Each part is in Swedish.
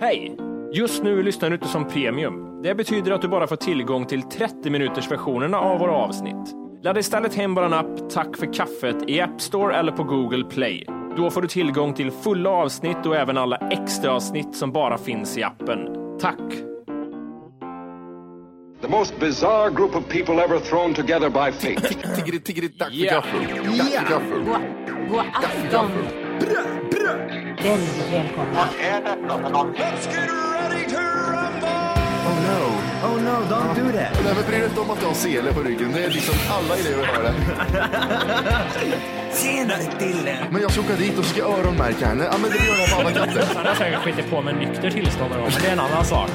Hej! Just nu lyssnar du inte som premium. Det betyder att du bara får tillgång till 30 minuters versionerna av våra avsnitt. Ladda istället hem vår app Tack för kaffet i App Store eller på Google Play. Då får du tillgång till fulla avsnitt och även alla extra avsnitt som bara finns i appen. Tack! The most bizarre group of people ever thrown together by fate. Tiggeri, tiggeri, dack för Ja. gaffel. Dack för Oh, gaffel. God afton! Väldigt välkomna. Oh, Nej, men bry dig inte om att du har sele på ryggen. Det är liksom alla elever har det. Tjena Dille! Men jag ska åka dit och ska öronmärka henne. Ja, men det gör jag på alla katter. Han har säkert skitit på med nykter tillstånd någon gång, men det är en annan sak.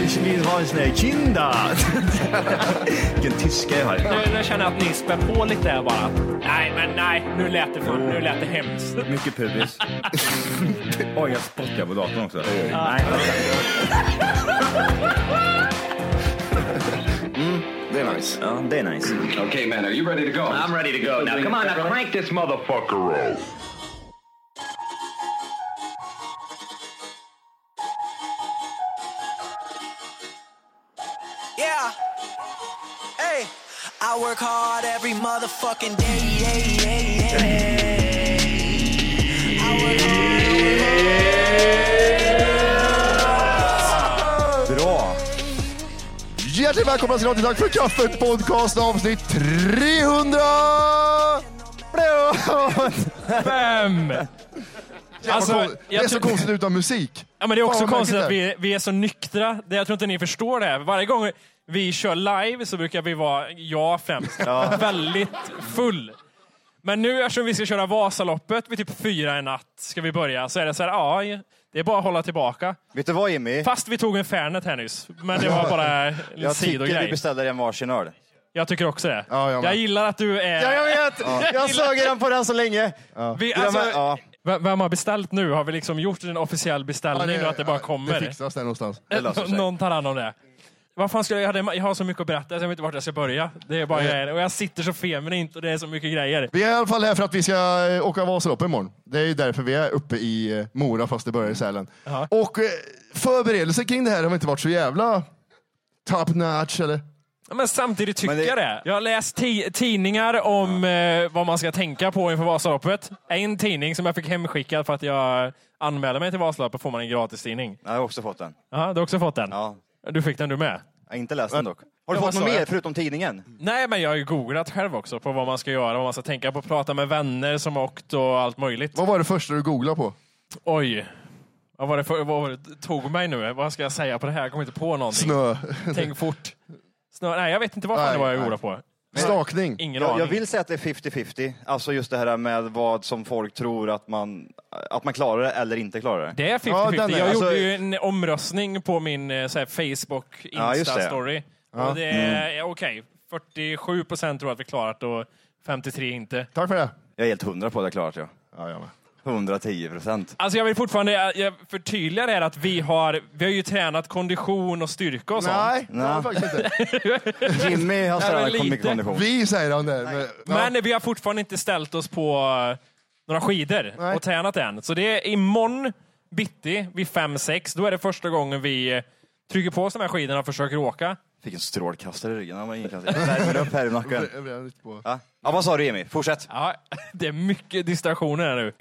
Ich will ha sina kinder. Vilken tyska jag har. Nu, nu känner jag att ni spär på lite här bara. Nej, men nej, nu lät det för, nu lät det hemskt. Mycket pubis. Oj, jag spottar på datorn också. Nej. Mm, Det är nice. Ja, det är nice. okay, man, are you ready to go? I'm ready to go. Now, come on, now crank this motherfucker up. Yeah. Hey, I work hard every motherfucking day. day, day, day. I work Bra. Hjärtligt välkomna ska ni vara till Tack för kaffet podcast avsnitt 300! Fem! Alltså, Alltså, det är jag så tror- konstigt utan musik. Ja, men det är också Fan, vad konstigt märkligt att det är. vi, vi är så nyktra. Det, jag tror inte ni förstår det. här. Varje gång vi kör live så brukar vi vara, jag främst, väldigt full. Men nu eftersom vi ska köra Vasaloppet vid typ fyra i natt, ska vi börja, så är det så här, ja, det är bara att hålla tillbaka. Vet du vad Jimmy? Fast vi tog en Fernet här nyss, men det var bara en Jag tycker vi sidogrej. beställer en varsin öl. Jag tycker också det. Ja, jag jag, med. gillar att du är... Ja, jag vet! Jag gillar- sög den på den så länge. Vi, Gillar alltså, med- ja. v- Vem har beställt nu? Har vi liksom gjort en officiell Ja, beställning och att det bara kommer? Det fixas där någonstans. Eh, Någon tar hand om det. Vad fan skulle jag, jag, hade, jag har så mycket att berätta, jag vet inte vart jag ska börja. Det är bara Eh. grejer. Och jag sitter så feminint och det är så mycket grejer. Vi är i alla fall här för att vi ska eh, åka Vasaloppet imorgon. Det är ju därför vi är uppe i eh, Mora fast det börjar i Sälen. Och eh, förberedelser kring det här har inte varit så jävla top notch eller? Ja, Men samtidigt tycker Men det- jag det. Jag har läst ti- tidningar om eh, vad man ska tänka på inför Vasaloppet. En tidning som jag fick hemskickad för att jag anmälde mig till Vasaloppet får man en gratistidning. Jag har också fått den. Ja, du har också fått den? Ja. Du fick den du med? Jag har inte läst den dock. Har du Ja, vad fått något sa jag? mer förutom tidningen? Nej, men jag har ju googlat själv också på vad man ska göra, vad man ska tänka på, prata med vänner som åkt och allt möjligt. Vad var det första du googlade på? Oj. Vad var det för, vad var det, tog mig nu? Vad ska jag säga på det här? Jag kommer inte på någonting. Snö. Tänk fort. Snö. Nej, jag vet inte vad fan Nej, det var jag nej. gjorde på. Stakning. Ingen Jag, aning. jag vill säga att det är 50-50. Alltså just det här med vad som folk tror att man, att man klarar det eller inte klarar det. Det är 50-50. Ja, den är- jag alltså- gjorde ju en omröstning på min eh, så här, Facebook Ja, just det. Insta-story. Och det är ja, okej. 47 procent tror att vi klarat och 53 inte. Tack för det. Jag är helt hundra på att jag klarat jag. Ja, jag med. 110 procent. Alltså jag vill fortfarande eh, jag förtydliga det här att vi har, vi har ju tränat kondition och styrka och sånt. Nej, det har Nej. jag faktiskt inte. Jimmy har Ja, men sådär lite. mycket kondition. Vi säger han där. Men, ja. Men vi har fortfarande inte ställt oss på eh, några skidor Nej. och tränat än. Så det är imorgon bitti vid 5-6, då är det första gången vi eh, trycker på oss de här skidorna och försöker åka. Fick en strålkastare i ryggen. Han var inkastad. Värmer upp här i nacken. Jag blev lite på. Ja. ja, vad sa du Emil? Fortsätt. Ja, det är mycket distraktioner här nu.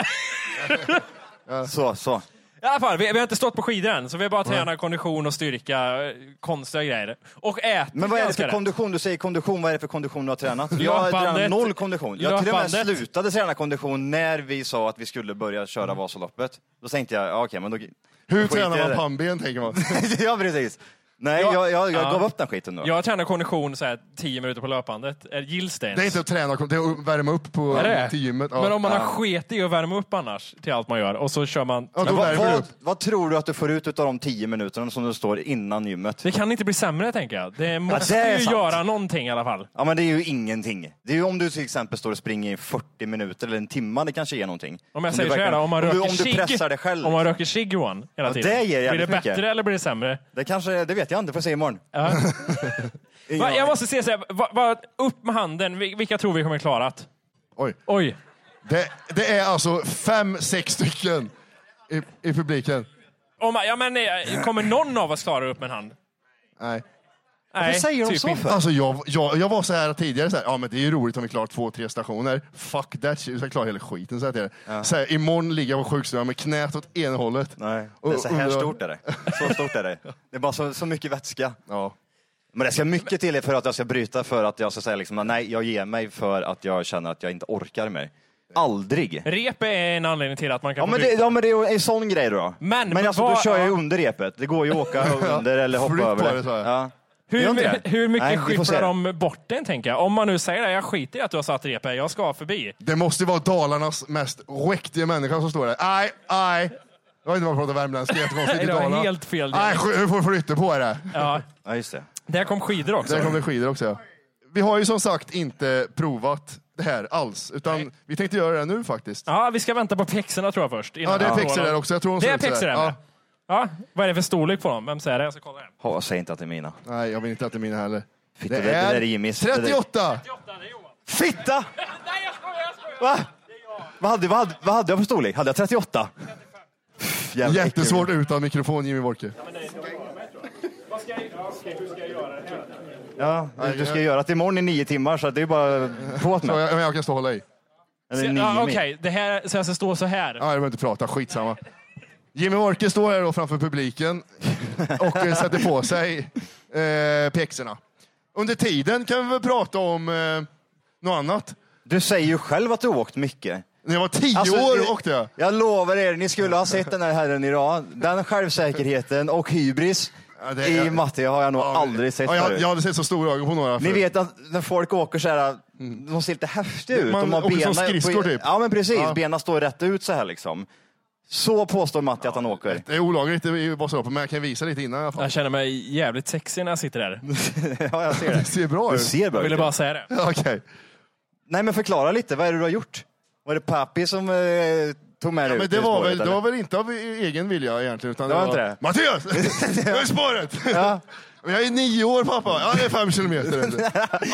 Så, så. I alla fall, vi, vi har inte stått på skidor än, så vi har bara tränat kondition och styrka, eh, konstiga grejer. Och ätit Men vad är det ganska för rätt. kondition? Du säger kondition, vad är det för kondition du har tränat? Jag har Löpbandet. tränat noll kondition. Jag till och med Löpbandet. Mm. slutade träna kondition när vi sa att vi skulle börja köra Vasaloppet. Då tänkte jag, ja, okej men då... Hur då skiter tränar jag i man det. pannben tänker man. ja precis. Nej, Ja. jag, jag, jag Ja. gav upp den skiten nu. Jag har tränat kondition så här, tio minuter på löpbandet. Eh, Gills det ens? Det är inte att träna, det är att värma upp på, Är det? till gymmet. Ja. Men om man har sket i att värma upp annars, till allt man gör, och så kör man... ja, då Vad, värmer du upp. vad, vad tror du att du får ut av de tio minuterna som du står innan gymmet? Det kan inte bli sämre, tänker jag. Det måste det är ju sant. göra någonting i alla fall. Ja men det är ju ingenting. Det är ju om du till exempel står och springer i 40 minuter eller en timme, det kanske ger någonting. Om jag du säger så här verkligen- då, om man röker du, om du cigg- pressar dig själv. Om man röker cigg Johan, hela Ja, tiden. det ger blir det jävligt bättre mycket. eller blir det sämre? Det kanske, det vet jag inte, får jag se imorgon. Ja. Ingen Va, jag aning. måste se så här, va, va, upp med handen, Vil- vilka tror vi kommer klarat? Oj. Oj. Det, det är alltså fem, sex stycken i, i publiken. Om, ja, men, eh, kommer någon av oss klara upp med en hand? Nej. Nej, typ Varför säger de så inte. för? Alltså jag, jag, jag var så här tidigare, så här, ja men det är ju roligt om vi klarar två, tre stationer. Fuck that shit, vi ska klara hela skiten. Så här, till det. så här, imorgon ligger jag på sjukstugan med knät åt ena hållet. Nej, det är så här stort är det. Så stort är det. Det är bara så, så mycket vätska. Ja. Men det ska mycket till för att jag ska bryta, för att jag ska säga liksom, nej, jag ger mig för att jag känner att jag inte orkar mer. Aldrig. Rep är en anledning till att man kan Ja få men, bry- det, ja men det är ju en sån grej då. Men- men alltså, vad- då kör jag ju ja. under repet. Det går ju att åka under eller hoppa Flytt över på det, så här. Ja. Gör inte Hur, det? hur mycket Nej, vi får se skyfflar det. de bort den, tänker jag? Om man nu säger det, jag skiter i att du har satt rep här, jag ska förbi. Det måste ju vara Dalarnas mest riktiga människa som står där. Nej, nej. Jag vet inte varför jag pratar värmländska, jättekonstigt i Nej, det var Dalarna. helt fel Nej, dialekt. sk- du får flytta på det. Ja, Ja, just det. där kom skidor också. Där kom det skidor också. Ja. Vi har ju som sagt inte provat det här alls, utan vi tänkte göra det nu faktiskt. Ja, vi ska vänta på pexerna tror jag först. innan Ja, det vi är får pixer dem. där också. Jag tror de Det ser är ut så där. pixer där ja. med. Ja, vad är det för storlek på dem? Vem säger det? Jag ska kolla här. Ha, säg inte att det är mina. Nej, jag vill inte att det är mina heller. Fitta, det- det där är Jimmys. Det där- 38! Fitta! Nej, jag skojar, jag skojar! Va? Vad hade, vad, hade, vad hade jag för storlek? Hade jag 38? Pff, jävla äckel. Jättesvårt utan mikrofon, Jimmy Wolke. Vad ska jag, ja, okej, hur ska jag göra det här? Ja, du, du ska göra det imorgon i nio timmar så det är bara på Ja, med. jag, men jag kan stå och hålla i. Eller nio Ja, mil. Okej, det här, så jag ska stå så här. Ja, jag behöver inte prata, skitsamma. Jimmy Wolke står här då framför publiken och eh, sätter på sig eh, pjäxorna. Under tiden kan vi väl prata om eh, något annat. Du säger ju själv att du har åkt mycket. Alltså, När jag var tio år åkte jag. Jag lovar er, ni skulle ha sett den här herren idag. Den självsäkerheten och hybris Ja, det- i jag- Matte har jag nog Ja, aldrig sett ja, jag, förut. jag hade sett så stora ögon på några. Ni förut. vet att när folk åker så här, de ser lite häftiga ut. Man de har åker som benen på- skridskor typ. Ja men precis, Ja. benen står rätt ut så här liksom. Så påstår Matti att han åker. Det är olagligt, det är ju bara så, men jag kan visa lite innan i alla fall. Jag känner mig jävligt sexig när jag sitter där. Ja, jag ser Det det. ser bra Du ut. ser bra Jag ut. ville bara säga det. Okej. Nej men förklara lite, vad är det du har gjort? Var det pappi som eh, tog med dig Men ut det i var, spåret, väl, det eller? var väl inte av e- egen vilja egentligen. Utan Det var inte det? Mattias! Det är spåret! Men Jag är nio år pappa. Ja, det är fem kilometer. ändå.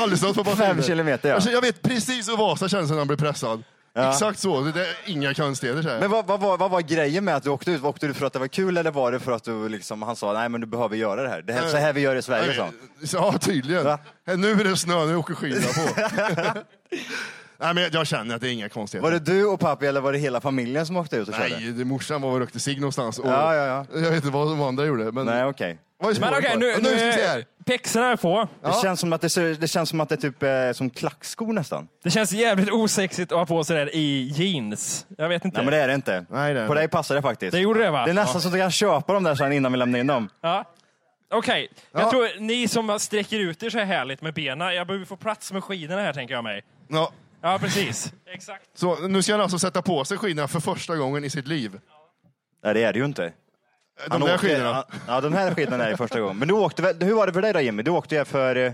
Aldrig stått på Fem batterier. kilometer, ja. Alltså, Jag vet precis hur Vasa känns när han blir pressad. Exakt så. Det det är inga konstigheter. Så här. Men vad, vad, var- vad var grejen med att du åkte ut? Åkte du för att det var kul eller var det för att du liksom, han sa nej men du behöver göra det här. Det här så här vi gör i Sverige. liksom. sa han. Så, ja, tydligen. Va? Nu är det snö, nu åker skidorna på. Nej, men jag känner att det är inga konstigheter. Var det du och pappi eller var det hela familjen som åkte ut och körde? Nej, det, morsan var och rökte cigg någonstans. Och Ja, ja, Jag vet inte vad de andra gjorde. Men, Nej okej. Vad är Men spåret okej, för? nu, Och ska vi se här. nu, pexerna är på. Det, känns som att det, ser- det känns som att det är typ eh, som klackskor nästan. Det känns jävligt osexigt att ha på sig det där i jeans. Jag vet inte. Nej men det är det inte. Nej, det är det På dig passar det faktiskt. Det gjorde det va? Det är nästan så att du kan köpa dem där sen innan vi lämnar in dem. Ja. Okej, jag Ja. tror ni som sträcker ut er så här härligt med benen, jag behöver få plats med skidorna här tänker jag mig. Ja. Ja, precis. Exakt. Så nu ska han alltså sätta på sig skidorna för första gången i sitt liv. Nej det är det ju inte. De Han där åkte- skidorna. Ja, de här skidorna är det första gången. Men du åkte väl, hur var det för dig då Jimmy? Du åkte ju för... eh,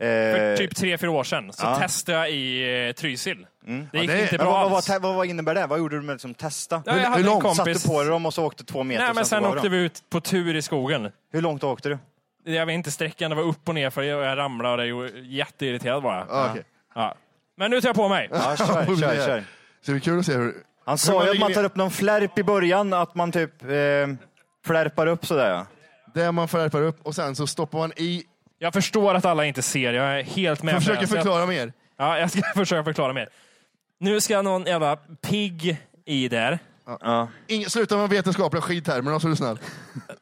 För eh, typ tre, fyra år sedan så testade jag i eh, Trysil. Mm. Det gick Ja, det- inte Men bra vad, vad, alls. vad, vad innebär det? Vad gjorde du med liksom, testa? Ja, jag hade hur en långt kompis- satte du på dig dem och så åkte två meter? Nej, men sen tog du åkte dem? vi ut på tur i skogen. Hur långt åkte du? Jag vet inte sträckan, det var upp och ner för jag jag ramlade och det gjorde jätteirriterad var jag. Ja, okej. Ja. Men nu tar jag på mig. Ja, kör, Får vi kör, se. kör. Så det är kul att se hur... Han man sa ju att ligger man ner- tar upp någon flärp i början, att man typ eh, flärpar upp sådär. ja. Det man flärpar upp och sen så stoppar man i Jag förstår att alla inte ser, jag är helt med Jag på försöker det. Så jag- förklara mer. Ja, jag ska försöka förklara mer. Nu ska någon jävla pigg i där. Ingen, sluta med vetenskapliga skittermer så är du snäll.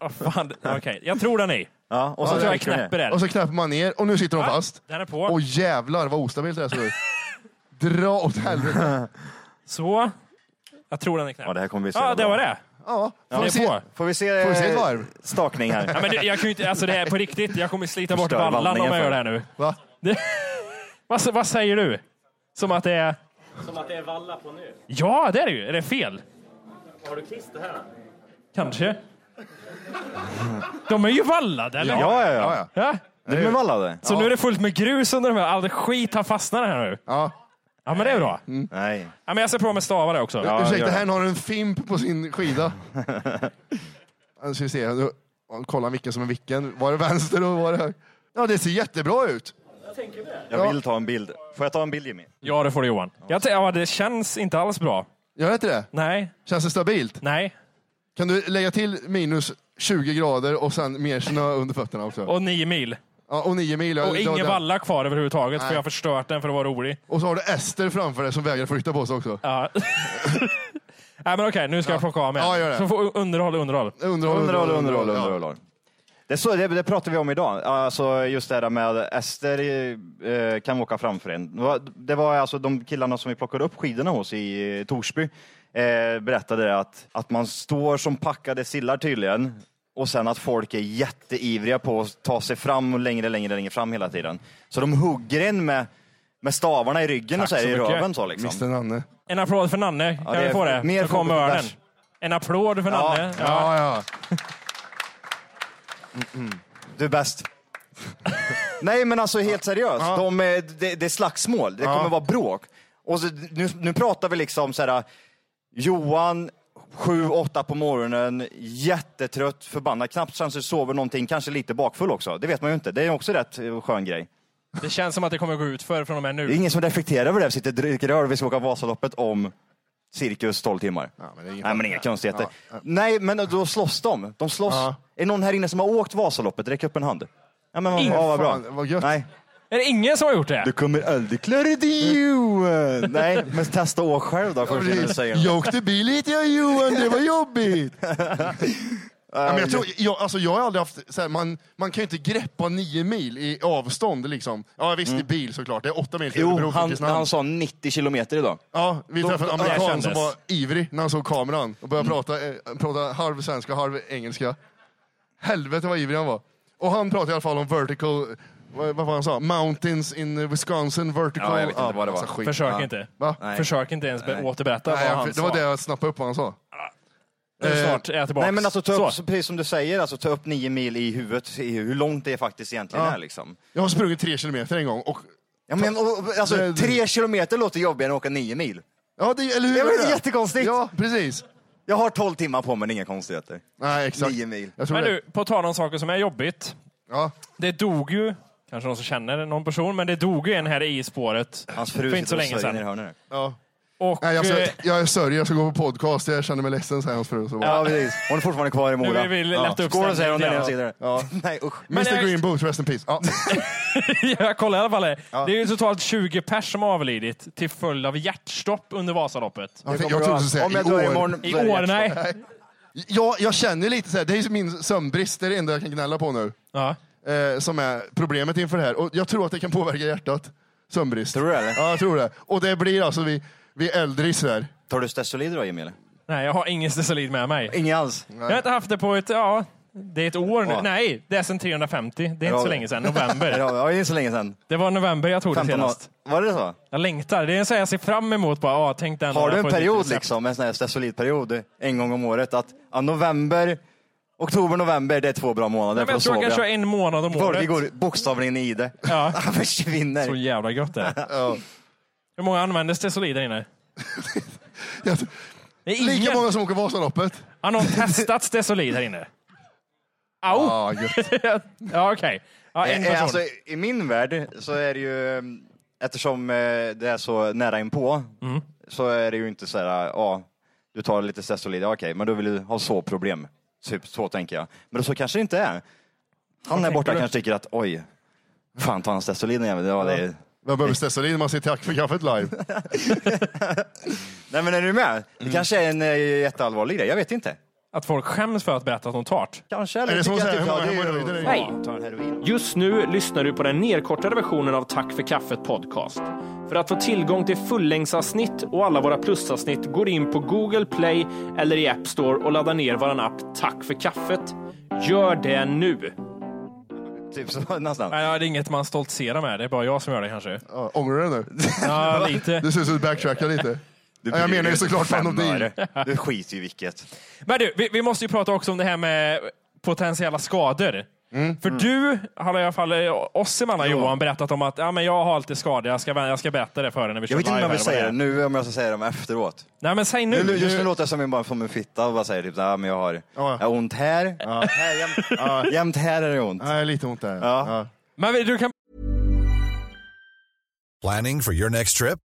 Åh, fan. Okej, jag tror den är i. Ja, och så tror jag jag trycker du ner. knäpper Och där. så knäpper man ner och nu sitter de Ja, fast. Den är Åh på. jävlar vad ostabilt det här ser ut. Dra åt helvete. Så. Jag tror den är knäppt. Ja, det här kommer bli så Ja, jävla det bra. var det. Ja, får Den vi är se. på. Får vi se, Får vi se ett eh, varv? stakning här? Ja, men det- jag kan ju inte, alltså det är på riktigt, jag kommer slita bort Förstör ballan om vallningen jag gör för- det här nu. Va? Det, vad, s- vad säger du? Som att det är... Som att det är valla på nu. Ja, det är det ju. Är det fel? Har du klister här? Kanske. De är ju vallade, eller? Ja, ja, Ja, ja. ja. Ja. Du blev vallad? Så nu är det fullt med grus under de här. All skit har fastnat här nu. ja. Ja, men det är bra. Nej. Ja, men jag ser på med stavar där också. Ja, Ursäkta, gör det. här har en fimp på sin skida. Nu ska vi se. Nu, kolla vilken som är vilken. Var det vänster och var det höger? Ja, det ser jättebra ut. Jag vill ta en bild. Får jag ta en bild Jimmy? Ja, det får du Johan. Jag t- ja, det känns inte alls bra. Gör det inte det? Nej, Känns det stabilt? nej. Kan du lägga till minus 20 grader och sen mer snö under fötterna också? Och nio mil. Ja, och nio mil. Och ingen valla kvar överhuvudtaget, för Nej. jag har förstört den för att vara rolig. Och så har du Ester framför dig som vägrar flytta på sig också. Ja. nej, men okej, nu ska jag plocka av mig. Ja, gör det. Så får underhåll, underhåll. Underhåll, Underhåll, underhåll, ja. underhåll. Det, är så, det, det pratar vi om idag, alltså just det här med Ester eh, kan åka framför en. Det var- Det var alltså de killarna som vi plockade upp skidorna hos i eh, Torsby, eh, berättade det att, att man står som packade sillar tydligen och sen att folk är jätteivriga på att ta sig fram och längre, längre, längre fram hela tiden. Så de hugger en med, med stavarna i ryggen och så här, så i mycket. röven så liksom. Mr Nanne. En applåd för Nanne. Kan det vi är få det? mer Nu kommer fokus på örnen. vers. En applåd för Ja. Nanne. Ja. Ja, ja. Du är bäst. Nej men alltså helt seriöst, de, är- det, det är slagsmål, det kommer vara bråk. Och så, nu, nu pratar vi liksom så här, Johan, sju, åtta på morgonen, jättetrött, förbannad, knappt chanser sover någonting, kanske lite bakfull också. Det vet man ju inte, det är också rätt eh, skön grej. Det känns som att det kommer gå ut för från och med nu. Det är ingen som reflekterar över det, vi sitter och dricker öl, vi ska åka Vasaloppet om cirkus 12 timmar. men det är ingen Nej men fara. inga konstigheter. Ja, ja. Nej men då slåss de, de slåss. Ja. Är det någon här inne som har åkt Vasaloppet? Räck upp en hand. Ja, men, Ingen. ja, vad bra. Fan, vad gött. Nej. Är det ingen som har gjort det? kommer aldrig klara det Johan! Nej, men testa att åka själv då först innan du säger något. Jag åkte bil hit jag Johan, det var jobbigt. ja, men jag, tror, jag, alltså, jag har aldrig haft, så här, man, man kan ju inte greppa nio mil i avstånd. Liksom. Ja visst, i bil såklart. Det är åtta mil till Mm. Jo, Örebro från han, Kristinehamn. han sa 90 kilometer idag. Ja, vi träffade en då- det amerikan kändes. som var ivrig när han såg kameran och började Mm. prata, eh, prata halv svenska, halv engelska. Helvete vad ivrig han var. Och han pratade i alla fall om vertical, vad, vad var han sa? Mountains in Wisconsin, vertical. Ja, jag vet inte vad det massa var. skit. Försök inte. Va? Försök inte ens be- återberätta Nej, vad jag, han det var eh, sa. det jag snappade upp vad han sa. Nu snart är jag tillbaka. Nej men alltså ta upp, Så. så precis som du säger, alltså, ta upp nio mil i huvudet, se hur långt det faktiskt egentligen Ja. är liksom. Jag har sprungit tre kilometer en gång. Och, Ja, men, och, och, Det- alltså, tre kilometer låter jobbigare än att åka nio mil. ja, det, eller hur? Ja, men är det är jättekonstigt. Ja, precis. Jag har 12 timmar på mig, det är inga konstigheter. Nej, exakt. Nio mil. Jag tror Men det. du, på tal om saker som är jobbigt. Ja. Det dog ju, kanske någon som känner någon person, men det dog ju en här i spåret Hans för fru inte så sitter och länge sörjer nere i sedan. hörnet. Ja. Och, Nej, jag, eh, jag, jag sörjer, jag ska gå på podcast. Jag känner mig ledsen, säger hans fru. Så bara, Ja, precis. Hon är fortfarande kvar i Mora. vill vi lätta upp Skål säger hon där nere och stämningen sitter. Ja. Nej usch. men Mr jag- Green Boot, rest in peace. Ja. jag kollar i alla fall. här. Det är ju totalt 20 pers som har avlidit till följd av hjärtstopp under Vasaloppet. Jag trodde du skulle säga Om jag i dör år. imorgon I så är det år, nej. Jag, jag känner lite så här, det är min sömnbrist, det är det enda jag kan gnälla på nu. Ja. Eh, som är problemet inför det här. Och jag tror att det kan påverka hjärtat. Sömnbrist. Tror du det, eller? Ja, jag tror det. Och det blir alltså, vi, vi är äldre i Sverige. Tar du Stesolid då Jimmy? eller? Nej, jag har ingen stesolid med mig. Inget alls. Jag har inte haft det på ett, ja, det är ett år nu. Ja. Nej, det är sedan 350. Det är inte Ja. så länge sedan. November. Ja, det var ju inte så länge sedan. Det var november jag tog det 15 år. senast. Var det så? Jag längtar. Det är en sån jag ser fram emot. Bara, ah, tänk den Har dagen jag du en får ett nytt period recept. liksom, en sån här stesolidperiod en gång om året att ja, november, oktober, november, det är två bra månader Nej, men för jag att tror jag kan sova. köra en månad om Folk året. går bokstavligen in i det. Ja. Han försvinner. Så jävla gött det är. Hur många använder stesolid där inne? Jag- Det är Lika ingen. många som åker Vasaloppet. Har någon testat stesolid här inne? Au! Ah, gött. ja, okej. Ja, en Eh, eh, person. Alltså, I min värld så är det ju, eh, eftersom eh, det är så nära inpå, så är det ju inte så här, eh, ja, du tar lite stesolid, ja, okej, men då vill du ha så problem. Typ så tänker jag. Men så kanske det inte är. Han här borta tänker du? kanske tycker att, oj, Fan, ta en Stessolin igen. Det var det. Man behöver stressa in när man ser Tack för kaffet live. Nej, men är du med? Det kanske är en eh, jätteallvarlig grej. Jag vet inte. Att folk skäms för att berätta att de tart. Kanske. Eller Är det som att tycker säga jag hur många typ, ja, det hemorrojder är ju- är det? Hej! Ta en heroin. Just nu lyssnar du på den nedkortade versionen av Tack för kaffet podcast. För att få tillgång till fullängdsavsnitt och alla våra plusavsnitt går in på Google Play eller i App Store och laddar ner vår app Tack för kaffet. Gör det nu! Typ så, nästan. Nej, ja, det är inget man stoltserar med. Det är bara jag som gör det kanske. Ja, ångrar du det nu? Ja, lite. Det ser ut som du backtrackar lite. Du Ja, jag bryr menar ju dig såklart inte fan om fem dig. öre. Du skiter ju i vilket. Men du, vi, vi måste ju prata också om det här med potentiella skador. Mm. För du har i alla fall, eh, oss emellan Johan, berättat om att ja, men jag har alltid skador, jag ska, jag ska berätta det för henne när vi kör Jag vet inte om live eller vad jag vill säga är. det nu, om jag ska säga det om efteråt. Nej men säg nu. Nu, just nu låter jag som en bara från min fitta och bara säger typ, ah, men jag har Ja. jag har ont här, här jämt, jämt här är det ont. Nej, lite ont där. Ja. Ja. Men vi- du kan Planning for your next trip?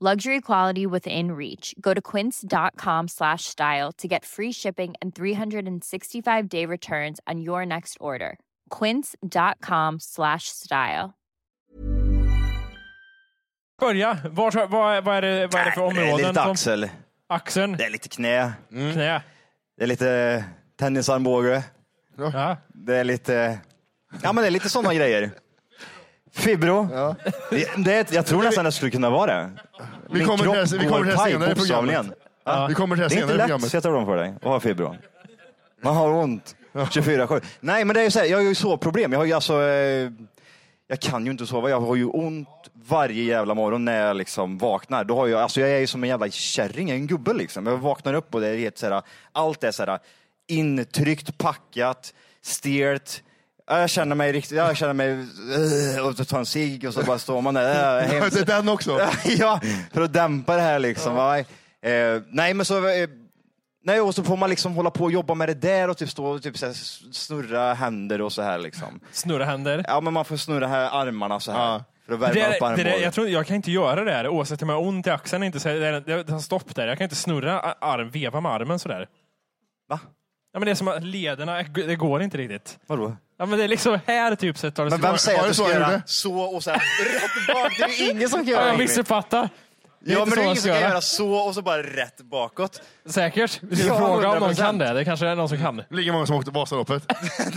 Luxury quality within reach. Go to quince.com slash style to get free shipping and 365 day returns on your next order. Quince.com slash style. börja. Var, var, vad, är det, vad är det för Det är områden? lite som- axel, Axeln? det Mm. är lite knä, Knä? det är lite tennisarmbåge, Ja. det är lite... Ja, men det är lite sådana grejer. Fibro. Det, det, är ett- jag tror nästan det skulle kunna vara det. Vi Min kommer till kropp det här- vi går kommer till det här paj, senare i programmet. bokstavligen. Vi kommer till det Det här är senare inte i lätt, programmet. sätter de för dig, att ha fibro. Man har ont 24-7. Nej, men det är ju så här, jag har ju så problem. Jag har ju alltså... Eh, jag kan ju inte sova. Jag har ju ont varje jävla morgon när jag liksom vaknar. Då har jag, alltså jag är ju som en jävla kärring, jag är en gubbe liksom. Jag vaknar upp och det är helt så här, allt är så här intryckt, packat, stelt. Jag känner mig riktigt, jag känner mig, eh, och så tar en cigg och så bara står man där. eh, Ja, hemskt. Det är den också. ja, för att dämpa det här liksom. va? Eh, nej, men så... Eh, nej, och så får man liksom hålla på och jobba med det där och typ stå och typ så här snurra händer och så här liksom. Snurra händer. Ja, men man får snurra här armarna så här. Ja. För att värma Det, upp är- det, armbågen. är- jag, tror, jag kan inte göra det här oavsett om jag har ont i axeln. eller Inte, så det, är- det, det har stopp där. Jag kan inte snurra a- arm, veva med armen sådär. Va? Ja, men det är som att lederna, det går inte riktigt. Vadå? Ja, men det är liksom här typ sett har det Men vem säger var att det du så ska jag göra gjorde? så och så här rätt bak? Det är ju ingen som kan Ja, göra jag det. missuppfattar. Det är inte Ja, men så det man är ingen ska som kan göra. göra så och så bara rätt bakåt. Säkert. Vi ska Ja, fråga om någon 100%. kan det. Det kanske är någon som kan. Lika många som åkte Vasaloppet.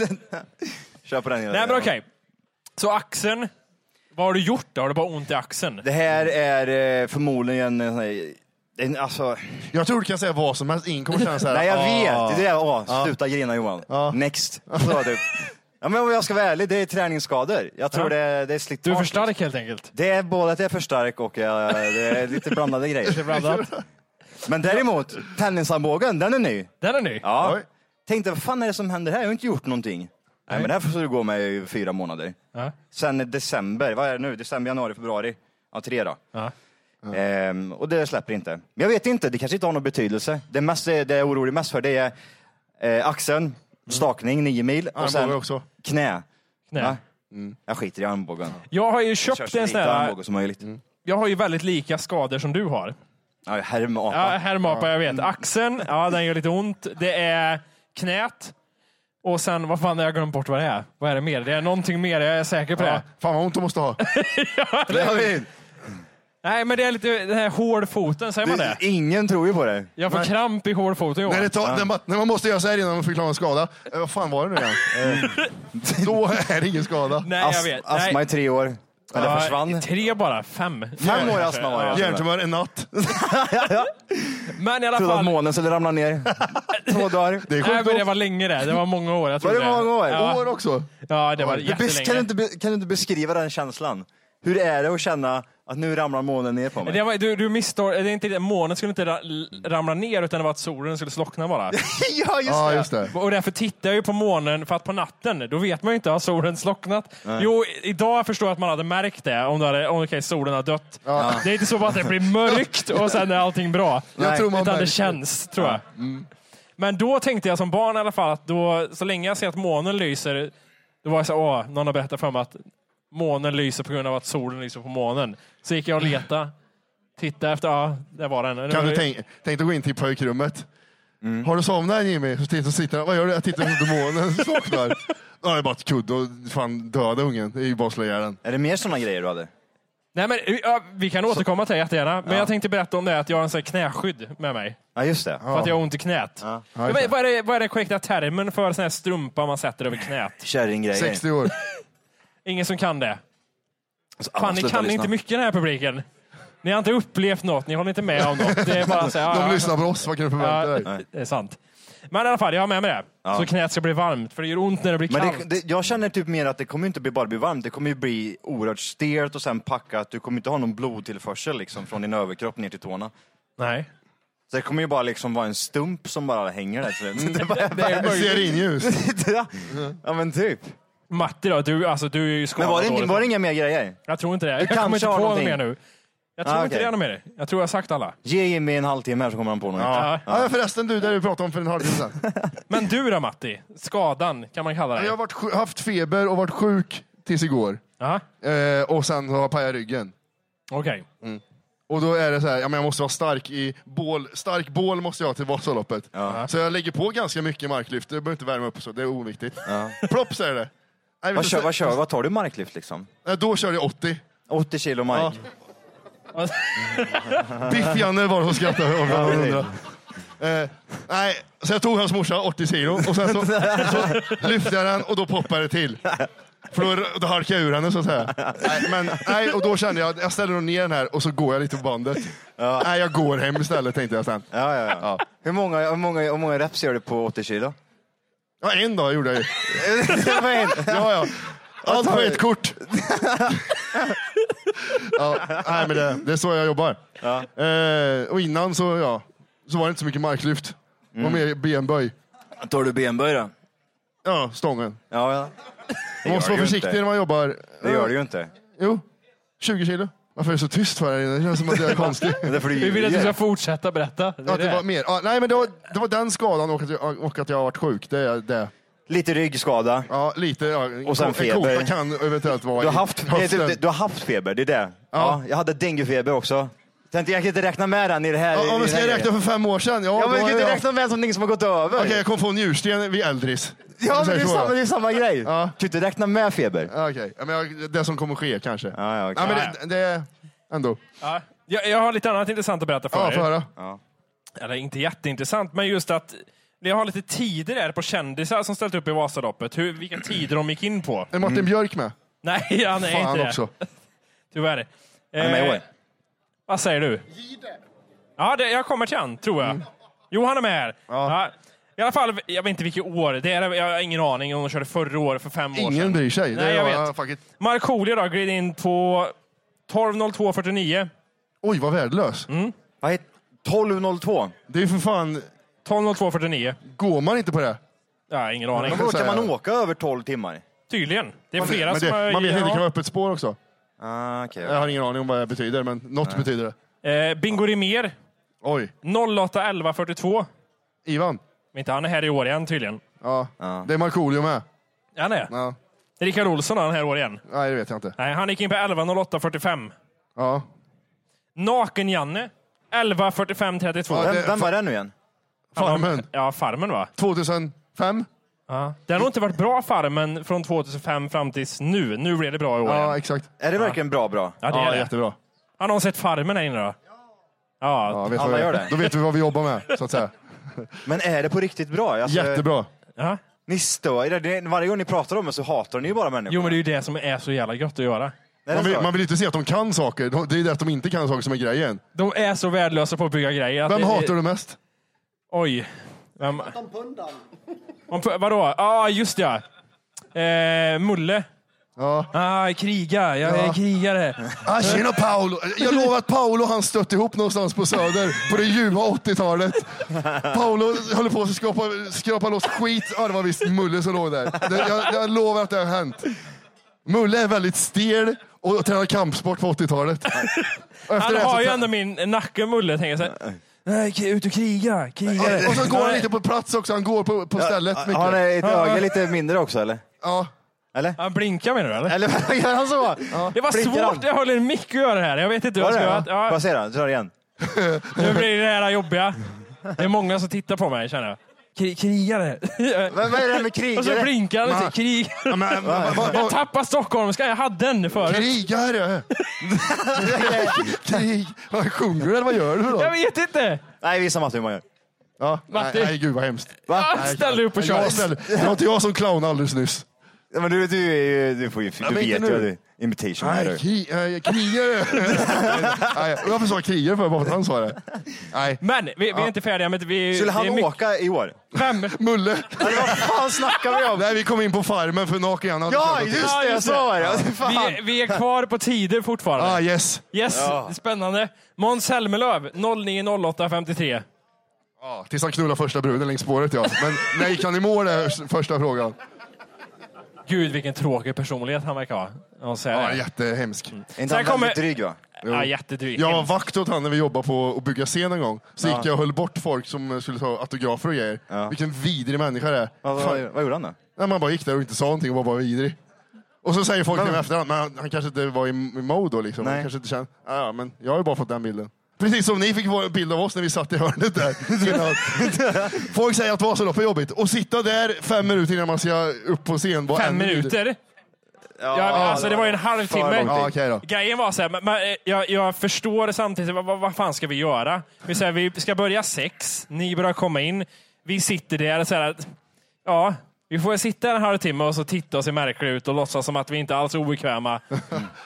Kör på den. Elin. Nej, men okej. Så axeln. Vad har du gjort då? Har du bara ont i axeln? Det här är eh, förmodligen en, sån här- en alltså, Jag tror du kan säga vad som helst. Ingen kommer känna så här. Nej, jag "Ah." vet. Det är, åh, sluta grina Johan. Ah. Next. Så, typ. ja, men om jag ska vara ärlig, det är träningsskador. Jag tror Ja. det, är- det är slitage. Ah. Du är för stark helt enkelt. Det är både att jag är för stark och jag, det är lite blandade grejer. Blandat. Men däremot, tennisarmbågen, den är ny. Den är ny. Ja. Oj. Tänkte, vad fan är det som händer här? Jag har inte gjort någonting. Nej, men det här får du gå med i fyra månader. Ja. Sen är december, vad är det nu? December, januari, februari. Ja, tre då. Ja. Ehm, och det släpper inte. Men jag vet inte, det kanske inte har någon betydelse. Det, mest, det jag är orolig mest för det är eh, Mm. axeln, stakning, nio mil. Och sen Armbåge också. knä. Knä. Ja. Jag skiter i armbågen. Jag har ju Kör köpt så en sån lite här. Mm. armbåge som möjligt. Jag har ju väldigt lika skador som du har. Ja, Mm. hermapa. Ja, härmapa, jag vet. Axeln, ja den gör lite ont. Det är knät. Och sen, vad fan, jag har glömt bort vad det är. Vad är det mer? Det är någonting mer, jag är säker på det. Ja, "Ah, fan vad ont du måste ha. Det har vi. Nej, men det är lite den här hålfoten, säger man det? Du, ingen tror ju på det. Jag får kramp i hålfoten När, det Johan. tar, när, man, när man måste göra så här innan man förklarar en skada. Eh, vad fan var det nu igen? Eh, Då är det ingen skada. Nej, jag As- vet. astma i Nej. tre år. Eller försvann. Tre bara, fem. Fem år i astma var alltså. jag. Hjärntumör en natt. Men i alla Trodde att fall. månen skulle ramla ner. Två dagar. Det är Nej, sjukt. men det var länge det. Det var många år. Jag Var det trodde många år? Ja, År också. ja det var Du bes- kan, du jättelänge. inte be- kan du inte beskriva den känslan? Hur är det att känna att nu ramlar månen ner på mig? Det var, du, du misstår, det är inte, det. månen skulle inte ra, ramla ner utan det var att solen skulle slockna bara. ja, just Ja, det. just det. Och därför tittar jag ju på månen, för att på natten, då vet man ju inte, har solen slocknat? Jo, i- idag förstår jag att man hade märkt det, om, det hade, om okej, solen har dött. Det är inte så bara att det blir mörkt och sen är allting bra. Jag tror man utan det märker. Mm. känns, tror jag. Men då tänkte jag som barn i alla fall, att då, så länge jag ser att månen lyser, då var jag så här, åh, någon har berättat för mig att månen lyser på grund av att solen lyser på månen. Så gick jag och letade, tittade efter, ja, där var den. Kan du tänka tänk dig gå in till pojkrummet? Mm. Har du somnat Jimmy? Så tittar- Så sitter han. Vad gör du? Jag tittar på månen. Så Vaknar. Ja, det är bara ett kudde och fan döda ungen. Det är ju bara att slå ihjäl den. Är det mer sådana grejer du hade? Nej, men, ja, vi kan återkomma till det jättegärna, men jag tänkte berätta om det att jag har en sån här knäskydd med mig. Ja, just det. För att jag har ont i knät. Ja. Ja, just men, vad, är det, vad är den korrekta termen för sån här strumpa man sätter över knät? Kärringgrejer. 60 år. Ingen som kan det. Alltså, Fan, ni sluta kan lyssna. inte mycket i den här publiken. Ni har inte upplevt något, ni håller inte med om något. Det är bara så här, ja, De ja, lyssnar på oss. Vad kan du förvänta dig? ja, det är sant. Men i alla fall, jag har med mig det. Så knät ska bli varmt, för det gör ont när det blir Men kallt. det, det, jag känner typ mer att det kommer inte bli bara bli varmt, det kommer ju bli oerhört stelt och sen packat. Du kommer inte ha någon blodtillförsel liksom från din överkropp ner till tårna. Nej. Så det kommer ju bara liksom vara en stump som bara hänger där. Så det, Mm. det är bara, Det är Ser möjligt. in ljus. ja. ja men typ. Matti då, du, alltså, du är ju skadad Men var det, inte, dåligt. var det inga mer grejer? Jag tror inte det. Jag kanske kommer inte har på något någonting. mer nu. Jag tror Ah, inte okej. det är något mer. Jag tror jag har sagt alla. Ge Jimmy en halvtimme här så kommer han på något. Ja. Ja, förresten du, det du pratade om för en halvtimme sedan. Men du då Matti? Skadan kan man kalla Jag har det. varit, sju- haft feber och varit sjuk tills igår. Ja, Eh, och sen har jag pajat ryggen. okej. Och då är det så här, ja, men jag måste vara stark i bål. Stark bål måste jag ha till Vasaloppet. Så jag lägger på ganska mycket marklyft. Jag behöver inte värma upp och så, det är oviktigt. Plopp säger det. Nej, vet Vad, du, kör, så- vad, kör, vad tar du marklyft liksom? Nej, Då körde jag 80. 80 kilo mark? Mm. Biff-Janne var det som skrattade. om jag undrar. Eh, nej, så jag tog hans morsa, 80 kilo, och sen så, så lyfte jag den och då poppade det till. För då, då halkade jag ur henne så att säga. Nej, men, nej, och då kände jag att jag ställer nog ner den här och så går jag lite på bandet. Nej, jag går hem istället tänkte jag sen. Ja, ja, ja. Hur, många, hur, många, hur många reps gör du på 80 kilo? Ja, en dag gjorde jag ju. Det var en. Ja, ja. Allt på ett kort. ja, nej, men det, det är så jag jobbar. Eh, och innan så, ja, så var det inte så mycket marklyft. Det var Mm. mer benböj. tar du benböj då? Ja, stången. Ja, ja. Man måste gör vara du försiktig inte. när man jobbar. Det gör du ju inte. Jo, 20 kilo. Varför är det så tyst för här inne? Det känns som att jag är konstig. Men det är för du Vi vill att du ska ljuger. fortsätta berätta. Det är Att det det. var mer. Ja, nej, men det var, det var den skadan och att jag, och att jag har varit sjuk. Det är det. Lite ryggskada. Ja, lite. Ja, Och sen en feber. kota kan eventuellt vara Du har, i haft, det är höften. typ, det- du har haft feber, det är det. Ja. Ja. jag hade denguefeber också. Tänkte, jag kan inte räkna med den i det här. Ja, i om vi den ska här räkna grejen. för fem år sedan. Ja, Ja, då men har jag kan inte jag- räkna med någonting som har gått över. Okej, jag kom få en njursten vid äldris. Ja, Om men vi det säger är, så, samma, va? det är samma grej. Ja. Du kan inte räkna med feber. Ja, Okej, ja, men jag- det som kommer ske kanske. Ja, ja, okej. men det, det är ändå. Ja. Jag, jag har lite annat intressant att berätta för Ja, er. få höra. Eller inte jätteintressant, men just att jag har lite tider här på kändisar som ställt upp i Vasaloppet. Hur, vilka tider de gick in på. Är Mm. Martin Björk med? Nej, han är Mm. Fan inte också. det. Tyvärr. Eh, Är du med i Eh. år? Vad säger du? Ja, det, jag kommer till han, tror jag. Mm. Jo, han är med här. Ja. I alla fall, jag vet inte vilket år. Det är, jag har ingen aning om de körde förra året, för fem år sedan. Ingen bryr sig. Nej, det jag var, vet. ja, fuck it. Markoolio då, gled in på 12.02.49. Oj, vad värdelös. Mm. Vad heter 12.02? Det är ju för fan, 12.02.49. går man inte på det? Ja, ingen aning. Men vadå, säga kan man det. åka över 12 timmar? Tydligen. Det är flera Men som det, har... man vet inte, det kan vara ja. öppet spår också. Ah, okej. Jag har ingen aning om vad det betyder, men något betyder det. eh, Bingo Rimér, Oj, 08.11.42. Ivan. Men inte han är här i år igen tydligen. Ja. Det är Markoolio med. Ja, Han är. Ja. Rickard Olsson är han här i år igen. Nej, det vet jag inte. Nej, han gick in på 11.08.45. Ja. Naken-Janne, 11.45.32. Ja, Vem, det- vem var det nu igen? Farmen. Ja, Farmen va? 2005? Ja. Den har inte varit bra, Farmen, från 2005 fram tills nu. Nu blev det bra i år Ja, igen. exakt. Är det verkligen bra bra? Ja, det Ja, är det. jättebra. Har någon sett Farmen här inne då? Ja, Ja. vet Alla vad vi- gör det. Då vet vi vad vi jobbar med, så att säga. Men är det på riktigt bra? Alltså, Jättebra. ja. Ni stör er. Det är- Varje gång ni pratar om det så hatar ni ju bara människor. Jo, men det är ju det som är så jävla gött att göra. Man Alltså- vill, man vill inte se att de kan saker. De- Det är det att de inte kan saker som är grejen. De är så värdelösa på att bygga grejer. att Vem det- hatar du mest? Oj. Vem... Om pundan. Om, pu- vadå? Ja, ah, just ja. Eh, Mulle. Ja. Ah, kriga. Jag är Ja. krigare. Ah, tjena Eh. Paolo! Jag lovar att Paolo och han stötte ihop någonstans på Söder på det ljuva 80-talet. Paolo håller på att skrapa, skrapa loss skit. Ja, det var visst Mulle som låg där. Det, jag, jag lovar att det har hänt. Mulle är väldigt stel och tränar kampsport på 80-talet. Och efter Han det så har ju tra- ändå min nacke, Mulle, tänker jag. så här. Nej, k- ut och kriga. kriga. Och så går han Nej. lite på plats också. Han går på, på Ja, stället mycket. Har han ett öga Ja. lite mindre också eller? Ja. Eller? Han blinkar menar du eller? Eller vad gör han så? Det var Blinkar svårt. han? Jag håller en mick att göra det här. Jag vet inte hur Var jag ska det? göra. Ja. Ja. Vad säger han? Dra det igen. Nu blir det här jobbiga. Det är många som tittar på mig känner jag. Kri- krigare. Vad- vad är det här med krigare? Och så blinkar han Men- lite. Krigare. Ja, men- men- vad- vad- jag tappar stockholmska. Jag hade den förut. Krigare! Krig. Vad sjunger du eller vad gör du då? Jag vet inte. Nej, visa Matti hur man gör. Ja. Matti. Nej, nej, gud vad hemskt. Va? Nej, Ställ dig upp och jag kör. ställer- Det var inte jag som clownade alldeles nyss. Ja, men du, du, är ju- du, får ju, du Ja, men vet inte ju nu. att du imitation är Nej, du. kri, eh, krigare. nej, varför sa jag krigare för? Bara för att han sa det. Nej. Men vi, vi är inte färdiga med vi, Skulle han det är mycket- åka i år? Vem? Mulle. Alltså, vad fan snackar vi om? Nej, vi kom in på farmen för naken han hade Ja, köpt något just till. det, jag sa det. Fan. Vi, vi är kvar på tider fortfarande. Ah, yes. Yes, Ja. spännande. Måns Zelmerlöw, 090853. Ja, tills han knullar första bruden längs spåret, ja. Men när gick han i mål, är första frågan. Gud vilken tråkig personlighet han verkar ha. Jag säger Ja, det. jättehemskt. Är inte han Sen kommer- väldigt dryg va? Ja, jättedryg. Jag var vakt åt han när vi jobbade på att bygga scen en gång. Så gick jag och höll bort folk som skulle ta autografer och grejer. Vilken vidrig människa det är. Vad, Fan, vad, vad gjorde han då? Nej, man bara gick där och inte sa någonting och var bara vidrig. Och så säger folk till mig efterhand, men han, han kanske inte var i, i mode då liksom. Han Nej. kanske inte kände, "Ja, ja, men jag har ju bara fått den bilden. Precis som ni fick vår bild av oss när vi satt i hörnet där. Innan- folk säger att Vasaloppet är jobbigt. Och sitta där fem minuter innan man ska upp på scen. bara Fem ännu vidrigare. minuter? Ja, alltså det var ju en halvtimme. lång tid. Ja, okej då. Grejen var så här, men- men, eh, jag, jag förstår samtidigt, vad, vad, vad fan ska vi göra? Vi, så här, vi ska börja sex, ni börjar komma in, vi sitter där och så här, att- ja, vi får sitta en halvtimme och så titta och se märkliga ut och låtsas som att vi inte alls är obekväma.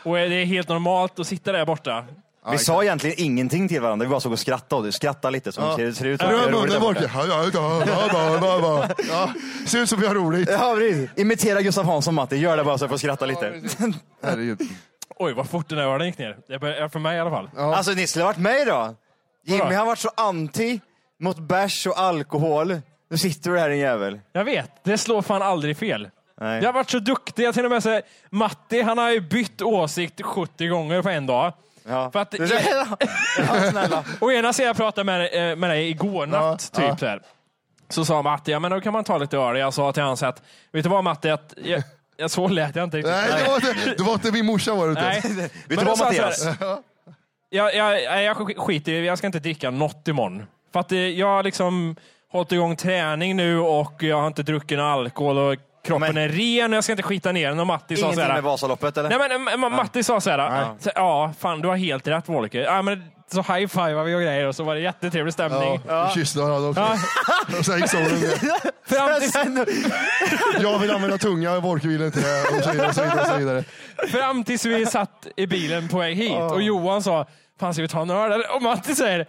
Och eh, det är helt normalt att sitta där borta. Vi sa egentligen ingenting till varandra, vi bara såg och skrattade och det. skrattade lite som Ja. det ser ut. som att det är Rör roligt munnen där bort. borta. Ja, ja, ja, ja, ja, ja, ja. Ja, Ser ut som vi har roligt. Ja, precis. Imitera Gustav Hansson Matti, gör det bara så jag får skratta lite. Herregud. Oj, vad fort den där ölen gick ner. Det började, för mig i alla fall. Alltså ni skulle ha varit med idag. Jimmy Vadå? han varit så anti mot bärs och alkohol. Nu sitter du här din jävel. Jag vet, det slår fan aldrig fel. Nej. Jag har varit så duktig. Jag till och med säger, Matti han har ju bytt åsikt 70 gånger på en dag. Ja. För att, Du- ja, snälla. å ena sidan jag pratade med, eh, med dig igår natt, typ så här. Så sa Matti, ja men då kan man ta lite öl. Jag sa till hans att, vet du vad Matti, att, jag, jag, så lät jag inte riktigt. Nej, det var, inte, det var inte min morsa var det inte. Nej. du Men vad, då sa jag så här, Mattias? Jag, jag, jag, jag sk- skiter i det. jag ska inte dricka något imorgon. För att eh, jag har liksom hållit igång träning nu och jag har inte druckit någon alkohol och kroppen Men- är ren och jag ska inte skita ner den. Och Matti sa så Ingenting med här, Vasaloppet eller? Nej, men, eh, ma- Matti sa så här, så- ja fan du har helt rätt Volker. Ja, men, så high-fivar vi och grejer och så var det jättetrevlig stämning. Ja, vi kysste varandra också. Och sen gick solen ner. Fram, till, Jag vill använda tunga, Wolke vill inte det. Och så vidare, och så vidare, och så vidare. fram tills vi satt i bilen på väg hit och Johan sa, fan ska vi ta en öl? eller?" Och Matti säger,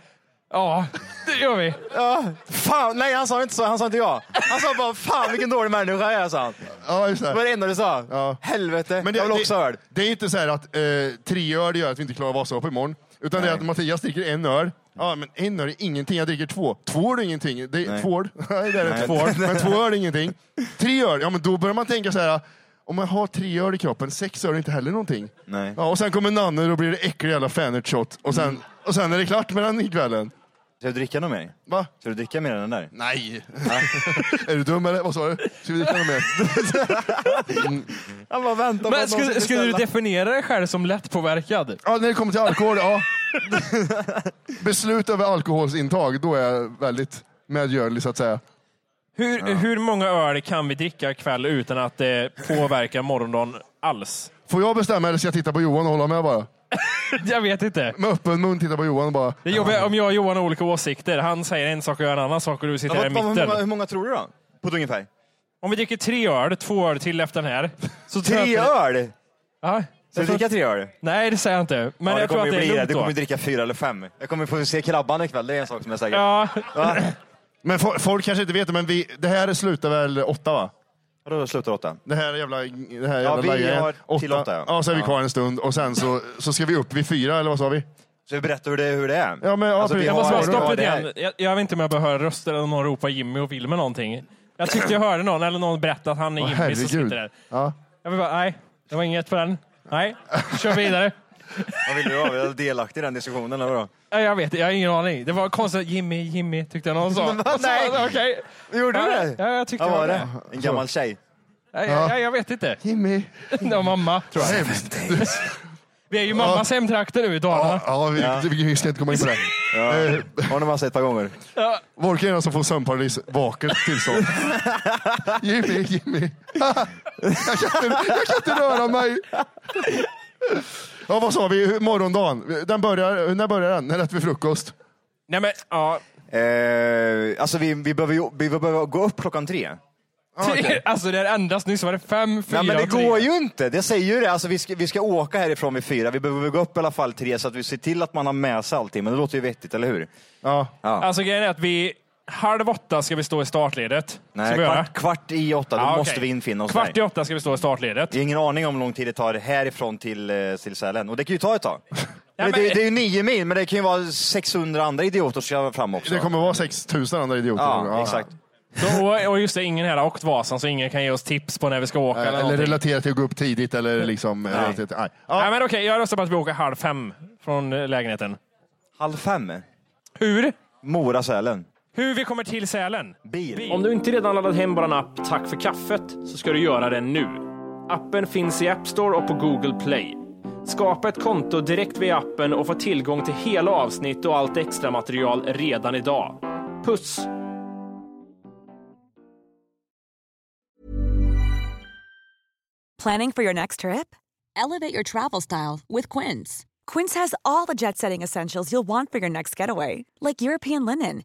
ja det gör vi. Ja, fan, nej han sa inte så, han sa inte ja. Han sa bara fan vilken dålig människa jag är sa han. Ja, just Det var det. det enda du sa. Ja. Helvete, jag vill också ha öl. det, det är inte så här att eh, tre öl gör att vi inte klarar Vasaloppet imorgon. Utan det är att Mattias dricker en öl. Ja, men en öl är ingenting. Jag dricker två. Två öl är ingenting. Det är, Nej. två öl? Nej, det är det Nej. inte. Men två öl är ingenting. Tre öl, ja men då börjar man tänka så här. Om man har tre öl i kroppen, sex öl är inte heller någonting. Nej. Ja, och sen kommer Nanne och då blir det äcklig jävla fanert shot. Och sen, Mm. och sen är det klart med den ikvällen. Ska du dricka något mer? Va? Ska du dricka mer än den där? Nej. är du dum eller? Vad sa du? Ska vi dricka något mer? Han bara väntar på Men att någon skulle, ska skulle du beställa. definiera dig själv som lättpåverkad? Ja, när det kommer till alkohol, ja. Beslut över alkoholsintag, då är jag väldigt medgörlig så att säga. Hur, hur många öl kan vi dricka ikväll utan att det påverkar morgondagen alls? Får jag bestämma eller ska jag titta på Johan och hålla med bara? Jag vet inte. Med öppen mun titta på Johan och bara. Det jobbar om jag och Johan har olika åsikter. Han säger en sak och jag en annan sak och du sitter Ja, här i vad- vad- hur, många, hur mitten. många tror du då? På ett ungefär? Om vi dricker tre öl, två öl till efter den här. Så tror jag Tre att- öl? Ja. Ska du dricka tre öl? Nej, det säger jag inte. Men ja, jag det tror att kommer ju det är bli det. lugnt Du då. kommer dricka fyra eller fem. Jag kommer få se Krabban ikväll, det är en sak som är säker. Ja. Men fo- folk kanske inte vet det, men vi, det här slutar väl åtta va? Vadå slutar åtta? Det här jävla, det här Ja, jävla vi lajjen. har till åtta, ja. Ja, så är vi Ja. kvar en stund och sen så, så ska vi upp vid fyra, eller vad sa vi? Så vi berättar hur det, hur det är. Ja, men, ja, Alltså, precis. vi Jag måste bara har- stoppa har lite det här. grann. Jag, jag vet inte om jag behöver höra röster eller om någon ropar Jimmy och vill med någonting. Jag tyckte jag hörde någon, eller någon berätta att han är Åh, Jimmy som herregud. sitter där. Ja. Jag vill bara, nej, det var inget på den. Nej, kör vidare. Vad vill du ha? Jag är delaktig i den diskussionen eller vadå? Nej, jag vet jag har ingen aning. Det var konstigt. Jimmy, Jimmy, tyckte jag någon sa. Men vad? Och så- Nej. Okej. Gjorde du Ja, det? Ja, jag tyckte Vad jag var hörde det? En gammal tjej? Nej, Ja. jag, jag vet inte. Jimmy. Det var mamma, tror jag. Vi är ju mammas hemtrakter nu i Dalarna. Ja, vi, Ja. vi ska inte komma in på det. Ja. Har ni man sett ett par gånger? Ja. Volker är den som får sömnparalys, vaket tillstånd. Jimmy, Jimmy. jag, kan inte, jag kan inte röra mig. Ja, vad sa vi? Hur- Morgondagen. Den börjar, när börjar den? När äter vi frukost? Nej men, ja. Eh, alltså vi, vi, behöver, ju- vi behöver gå upp klockan tre. alltså det är endast nyss var det fem, fyra Nej men det och tre. går ju inte, det säger ju det. Alltså, vi, ska, vi ska åka härifrån vid fyra, vi behöver gå upp i alla fall tre så att vi ser till att man har med sig allting. Men det låter ju vettigt, eller hur? Ja. Alltså grejen är att vi, halv åtta ska vi stå i startledet. Nej, Ska vi göra? kvart, kvart i åtta, då Ja, måste okej. vi infinna oss Kvart i där. åtta ska vi stå i startledet. Jag har ingen aning om hur lång tid det tar härifrån till, eh, till Sälen. Och det kan ju ta ett tag. men- det, det, det är ju nio mil, men det kan ju vara 600 andra idioter som ska fram också. Det kommer vara 6000 andra idioter. Ja, exakt. Så, och- och just det, ingen här har åkt Vasan så ingen kan ge oss tips på när vi ska åka. Eller, Eller, eller relatera till att gå upp tidigt eller liksom... Nej. Relatera till, nej. Nej men okej, jag röstar på att vi åker halv fem från eh, lägenheten. Halv fem? Hur? Mora-Sälen. Hur vi kommer till Sälen? Bil. Om du inte redan laddat hem vår app Tack för kaffet så ska du göra det nu. Appen finns i App Store och på Google Play. Skapa ett konto direkt via appen och få tillgång till hela avsnitt och allt extra material redan idag. Puss! Planning for your next trip? Elevate your travel style with Quince. Quince has all the jet setting essentials you'll want for your next getaway, like European linen,